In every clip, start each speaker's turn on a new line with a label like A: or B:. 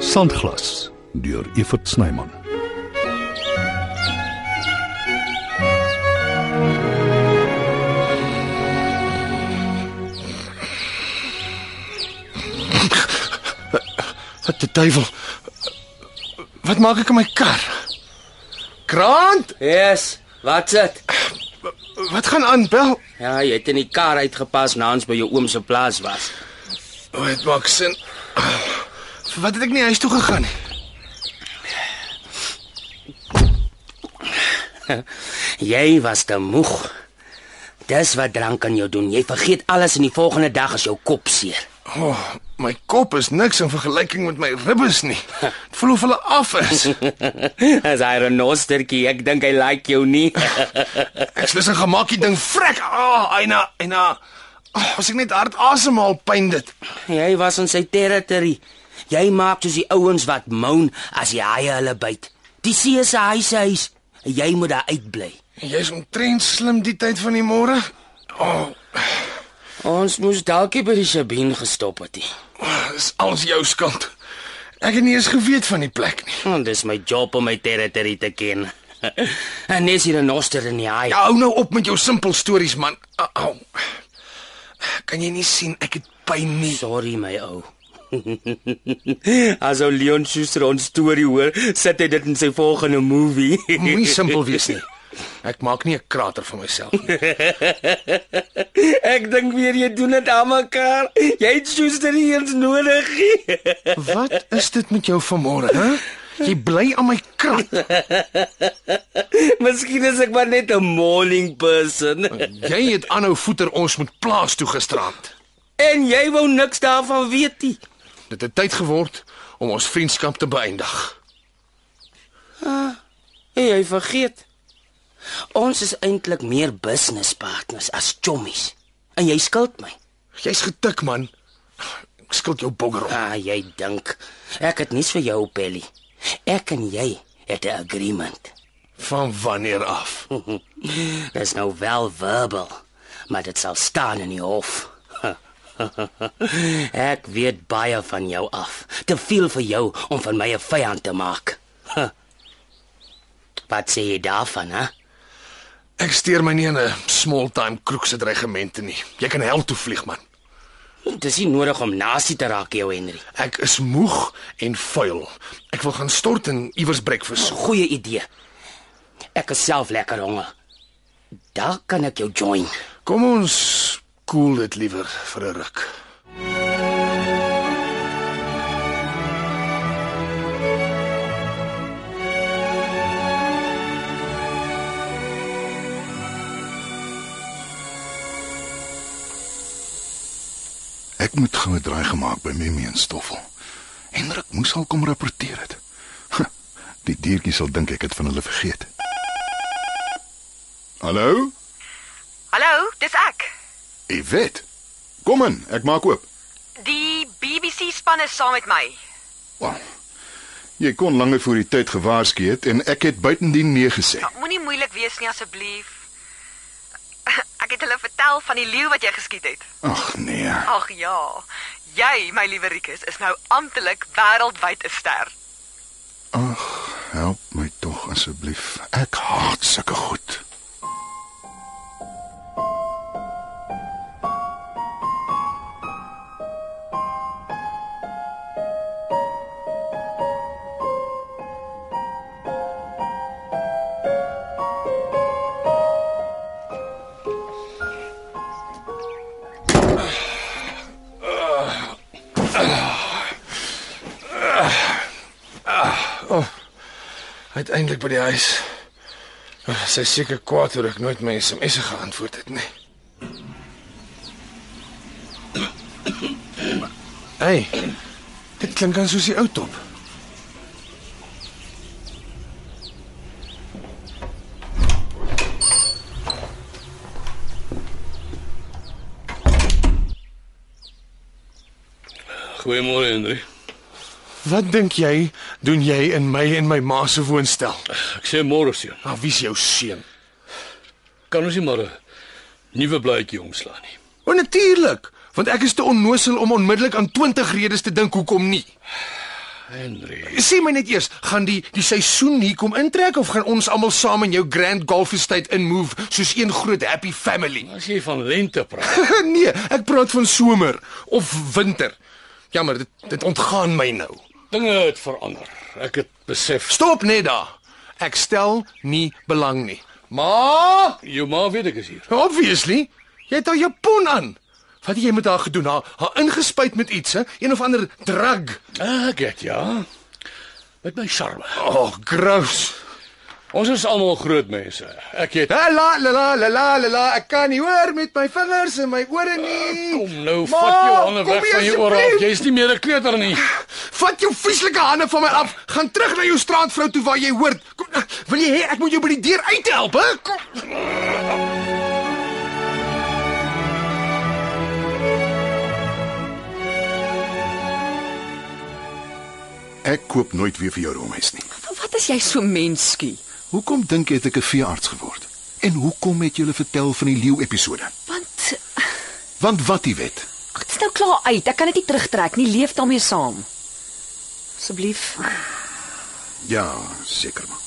A: Sandglas deur Evert Snyman.
B: Wat die duiwel? Wat maak ek in my kar? Grant,
C: Yes, wat sit?
B: wat gaan aan? Bel.
C: Ja, jy het in die kar uitgepas na ons by jou oom se plaas was.
B: O, dit maak sin. Ah, Wat het ek nie huis toe gegaan nie?
C: Jy was te moeg. Dis wat drank kan jou doen. Jy vergeet alles en die volgende dag is jou kop seer.
B: O, oh, my kop is niks in vergelyking met my ribbes nie. Dit voel of hulle af is.
C: As hy 'n nostertjie, ek dink hy like jou nie.
B: Ek slus 'n gemaakie ding vrek. Ah, oh, Eina, Eina. Oh, as ek net hard asemhaal, pyn dit.
C: jy was in sy territory. Jy maak soos die ouens wat moan as die haie hulle byt. Die see is 'n huishuis. Jy moet daar uitbly.
B: Jy's omtrent slim die tyd van die môre. O, oh,
C: Ons moes dalkie by die Sabine gestop het. nie.
B: oh, dis alles jou skuld. Ek het nie eens geweet van die plek nie.
C: Want dis my job om my territory te ken. en dis hier 'n noster in die haai.
B: Ja, hou nou op met jou simpel stories man. Au. au. Kan jy nie sien ek het pyn nie?
C: Sorry my ou. As ou Leon Schuster ons storie hoor, sit hy dit in sy volgende movie.
B: Moenie simpel wees nie. Ek maak nie 'n krater van myself nie.
C: Ek dink weer jy doen dit aan mekaar. Jy het Schuster nie eens nodig nie.
B: Wat is dit met jou vanmôre, hè? Jy bly aan my krat.
C: Miskien is ek maar net 'n morning person.
B: Jy het aanhou voeter ons moet plaas toe gisteraand.
C: En jy wou niks daarvan weet nie.
B: Dit het tyd geword om ons vriendskap te beëindig.
C: En jy vergeet. Ons is eintlik meer business partners as chommies. En jy skuld my.
B: Jy's getik man. Ek skuld jou bogger op.
C: Ah, jy dink ek het niks vir jou, Pelly. Ek en jy het 'n agreement.
B: Van wanneer af?
C: Dis nou wel verbal, maar dit sal staan in die hof. ek weet baie van jou af. Te veel vir jou om van my 'n vyand te maak. Wat sê jy daarvan, hè?
B: Ek steur my nie in 'n small time kroeg se dreigemente nie. Jy kan hel toe vlieg man.
C: Dis nie nodig om nasie te raak, jou Henry.
B: Ek is moeg en vuil. Ek wil gaan stort en iewers breakfast soek.
C: Goeie idee. Ek is self lekker honger. Daar kan ek jou join.
B: Kom ons koel dit liewer vir 'n ruk.
D: Ek moet gou 'n draai gemaak by Mimi en Stoffel. Hendrik moes al kom rapporteer het. Huh, Die diertjies sal dink ek het van hulle vergeet. Hallo?
E: Hallo, dis ek.
D: Ivet. Kom in, ek maak oop.
E: Die BBC span is saam met my.
D: Wow. Jy kon langer voor die tyd gewaarsku het en ek het buitendien nee gesê.
E: Moenie moeilik wees nie asseblief. Ek het hulle vertel van die leeu wat jy geskiet het.
D: Ag nee.
E: Ag ja. Jy, my liewe Rikus, is nou amptelik wêreldwyd 'n ster.
D: Ag, help my tog asseblief. Ek haat sulke goed.
B: Uiteindelik by die huis. Sy is seker kwaad oor ek nooit my SMS'e geantwoord het nee. nie. Hey. Dit klink dan soos die ou top.
F: Goeiemôre Henry.
B: Wat dink jy doen jy in my en my ma se woonstel?
F: Ek sê môre seun.
B: Ah, wie's jou seun?
F: Kan ons nie maar 'n nuwe blaadjie omslaan nie.
B: O natuurlik, want ek is te onnosel om onmiddellik aan 20 redes te dink hoekom nie.
F: Henry.
B: Sê my net eers, gaan die die seisoen hier kom intrek of gaan ons almal saam in jou Grand Golf Estate inmove soos een groot happy family?
F: As jy van lente praat,
B: nee, ek praat van somer of winter. Jammer, dit dit ontgaan my nou.
F: dinge het verander. Ek het besef.
B: Stop net daar. Ek stel nie belang nie. Maar
F: Jou ma weet ek is hier.
B: obviously, jy het al jou pon aan. Wat het jy met haar gedoen? Haar, haar ingespuit met iets, hè? een of ander drug.
F: Ek het ja. Met my charme.
B: Oh, gross.
F: Ons is almal groot mense. Ek het
B: La la la la la la la la. Ek kan nie hoor met my vingers en my ore nie.
F: Kom nou,
B: Ma,
F: vat jou hande
B: kom
F: weg
B: hier
F: van jou oor af.
B: asseblief.
F: Jy's nie meer 'n kleuter nie.
B: Vat jou vieslike hande van my af. Gaan terug na jou straatvrou toe waar jy hoort. Kom, eh, wil jy hê ek moet jou by die deur uit help, hè? Kom.
D: Ek koop nooit weer vir jou roomys nie.
G: Wat is jy so menskie?
D: Hoekom dink jy het ek 'n veearts geword? En hoekom het jy hulle vertel van die leeu episode?
G: Want eh,
D: Want wat jy weet,
G: ag, dit is nou klaar uit. Ek kan dit nie terugtrek nie. Leef daarmee saam. Asseblief,
D: ja, seker maar.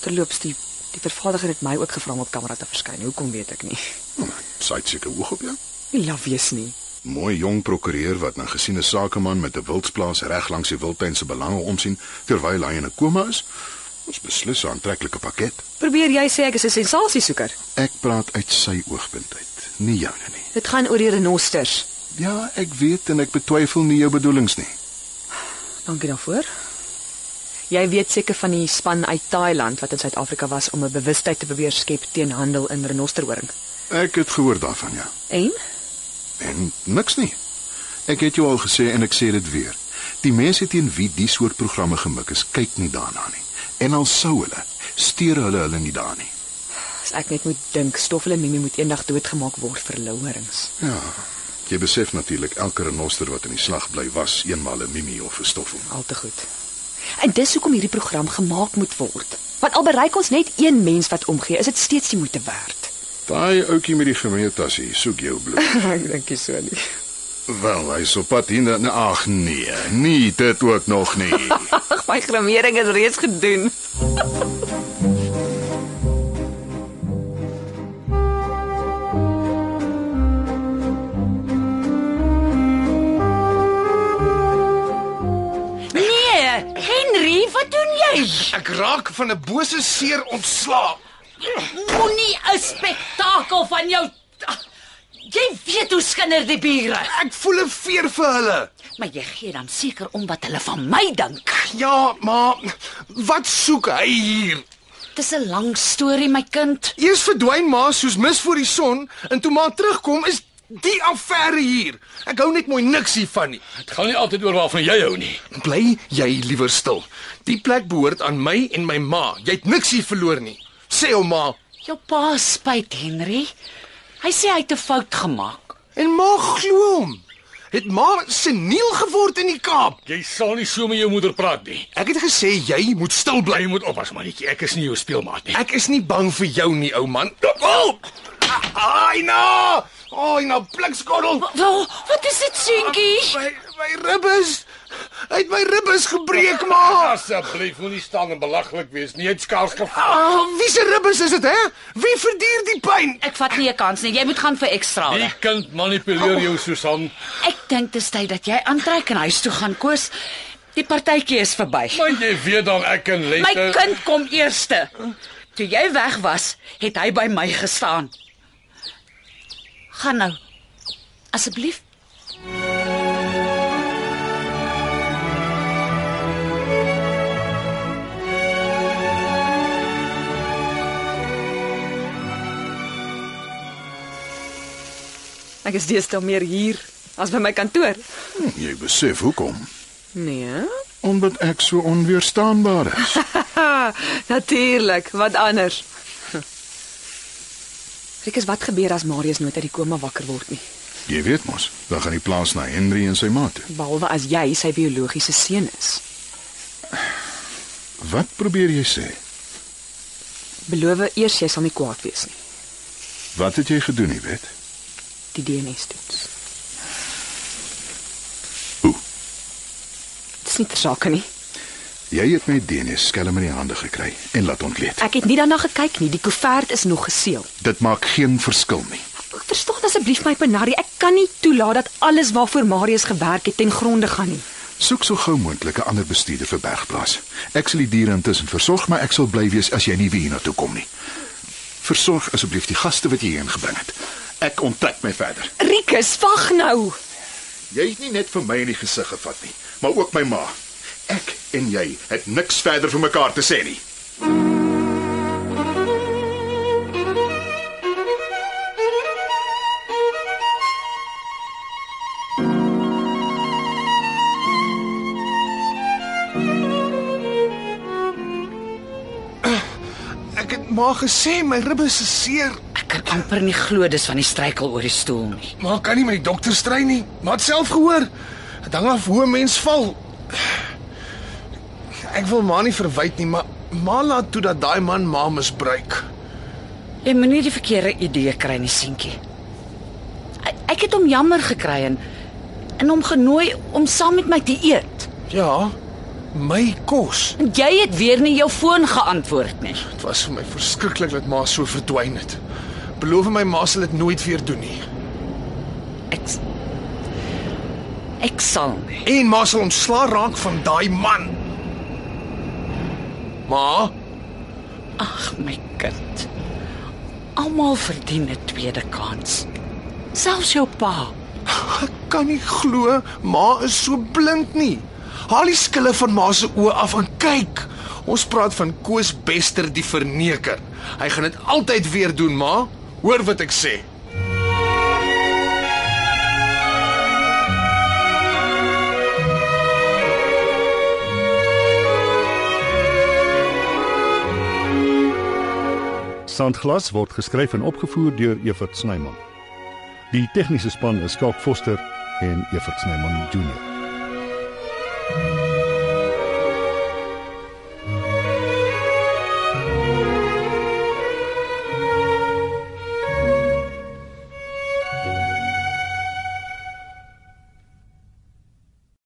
G: terloops die die vervaardiger het my ook gevra om op kamera te verskyn. Hoekom weet ek nie.
D: Hm, Sy het seker hoog op jou.
G: Nie laf wees nie.
D: Mooi jong prokureur wat 'n gesiene sakeman met 'n wildsplaas reg langs die wildtuin se belange omsien terwyl hy in 'n koma is. Ons beslis 'n aantreklike pakket.
G: Probeer jy sê ek is 'n sensasiesoeker?
D: Ek praat uit sy oogpunt uit, nie joune nie.
G: Dit gaan oor die renosters.
D: Ja, ek weet en ek betwyfel nie jou bedoelings nie.
G: Dankie daarvoor. Jy weet seker van die span uit Thailand wat in Suid-Afrika was om 'n bewustheid te probeer skep teen handel in renosterhoring.
D: Ek het gehoor daarvan, ja.
G: En
D: En niks nie. Ek het jou al gesê en ek sê dit weer. Die mense teen wie die soort programme gemik is, kyk nie daarna nie. En al sou hulle, steur hulle hulle nie daaraan nie.
G: as ek net moet dink, Stoffel en Mimi moet eendag doodgemaak word vir louerings.
D: Ja. Jy besef natuurlik elke renoster wat in die slag bly was eenmal 'n mimie of 'n stoffel.
G: Al te goed. En dis hoekom hierdie program gemaak moet word. Want al bereik ons net een mens wat omgee, is dit steeds die moeite werd.
D: Daai ouetjie met die gemeentassie soek jou bloed.
G: ek dink nie so nie.
D: Wel, hy's op pad hier na ag nee, nie dit ook nog nie.
G: Ag, my grimering is reeds gedoen.
H: Nee, Henry, wat doen jy?
B: Ek raak van 'n bose seer ontslaap.
H: Moenie 'n spektakel van jou Ah, Jy weet hoe skinder die bure.
B: Ek voel 'n veer vir hulle.
H: Maar jy gee dan seker om wat hulle van my dink.
B: Ja, maar wat soek hy hier?
H: Dis 'n lang storie, my kind.
B: Eers verdwyn ma soos mis voor die son en toe ma terugkom is die affære hier. Ek hou net mooi niks hiervan nie.
F: Dit gaan nie altyd oor waarvan jy hou nie.
B: Bly jy liewer stil. Die plek behoort aan my en my ma. Jy het niks hier verloor nie. Sê hom ma.
H: Jou pa spyt, Henry. Hy sê hy het 'n fout gemaak.
B: En ma glo hom. Het ma seniel geword in die Kaap.
F: Jy sal nie so met jou moeder praat nie.
B: Ek het gesê jy moet stil bly.
F: Jy moet oppas, mannetjie. Ek is nie jou speelmaat nie.
B: Ek is nie bang vir jou nie, ou man. Au! Ai nou! Ai nou, blikskottel.
H: Wel, wat is dit, seentjie?
B: My my ribbes. Hy het my ribbes gebreek, maar.
F: Asseblief, moenie staan en belaglik wees nie. Jy het skaars geval.
B: Ah, wie se ribbes is dit, hè? Wie verduur die pyn?
H: Ek vat nie 'n kans nie. Jy moet gaan vir ekstra.
F: Die
H: hoor.
F: kind manipuleer jou, Susan.
H: Ek dink dis tyd dat jy aantrek en huis toe gaan koos. Die partytjie is verby.
F: Maar jy weet dan ek eh, en
H: My
F: Lente.
H: kind kom eerste. Toe jy weg was, het hy by my gestaan. Gaan nou. Asseblief.
G: Ek is deesdae meer hier as by my kantoor.
D: Jy besef hoekom?
G: Nee.
D: Omdat ek so onweerstaanbaar is.
G: Ha, natuurlik, wat anders. Rikus, wat gebeur as Marius nooit uit die koma wakker word nie?
D: Jy weet mos, dan gaan die plaas na Henry en sy maat. toe.
G: Behalwe as jy sy biologiese seun is.
D: Wat probeer jy sê?
G: Beloof eers jy sal nie kwaad wees nie.
D: Wat het jy gedoen, jy weet?
G: Die DNA-toets.
D: Hoe?
G: Dit niks nie ter sake nie.
D: Jy het my DNS skelm in die hande gekry en laat ontleed.
G: Ek het nie daarna gekyk nie. Die koevert is nog geseël.
D: Dit maak geen verskil nie.
G: Verstaan asseblief my Penari, ek kan nie toelaat dat alles waarvoor Marius gewerk het ten gronde gaan nie.
D: Soek so gou moontlik 'n ander bestuurder vir Bergplaas. Ek sal die diere intussen versorg, maar ek sal bly wees as jy nie weer hiernatoe kom nie. Versorg asseblief die gaste wat jy hierheen gebring het. Ek onttrek my verder.
G: Rikus, wag nou.
D: Jy het nie net vir my in die gesig gevat nie, maar ook my ma. Ek en jy het niks verder vir mekaar te sê nie.
B: Ek het maar gesê my ribbes is seer.
H: Ek kan amper nie glo dis van die struikel oor die stoel nie.
B: Maar kan nie met die dokter strei nie. Maar het self gehoor. Dit hang af hoe 'n mens val. Ek wil maar nie verwyd nie, maar maar laat toe dat daai man ma misbruik.
H: Jy moenie die verkeerde idee kry nie, seentjie. Ek, ek het hom jammer gekry en en hom genooi om saam met my te eet.
B: Ja. My kos.
H: En jy het weer nie jou foon geantwoord nie.
B: Dit was vir my verskriklik dat ma so verdwyn het. Beloof my ma sal dit nooit weer doen nie.
H: Ek Ek sal nie.
B: En ma sal ontslaa raak van daai man. Ma,
H: Ag my kind. Almal verdien 'n tweede kans. Selfs jou pa.
B: ek kan nie glo ma is so blind nie. Haal die skille van ma se oë af en kyk. Ons praat van Koos Bester die verneker. Hy gaan dit altyd weer doen, ma. Hoor wat ek sê.
A: Sandglas word geskryf en opgevoer deur Evert Snyman. Die tegniese span is Skalk Foster en Evert Snyman Junior.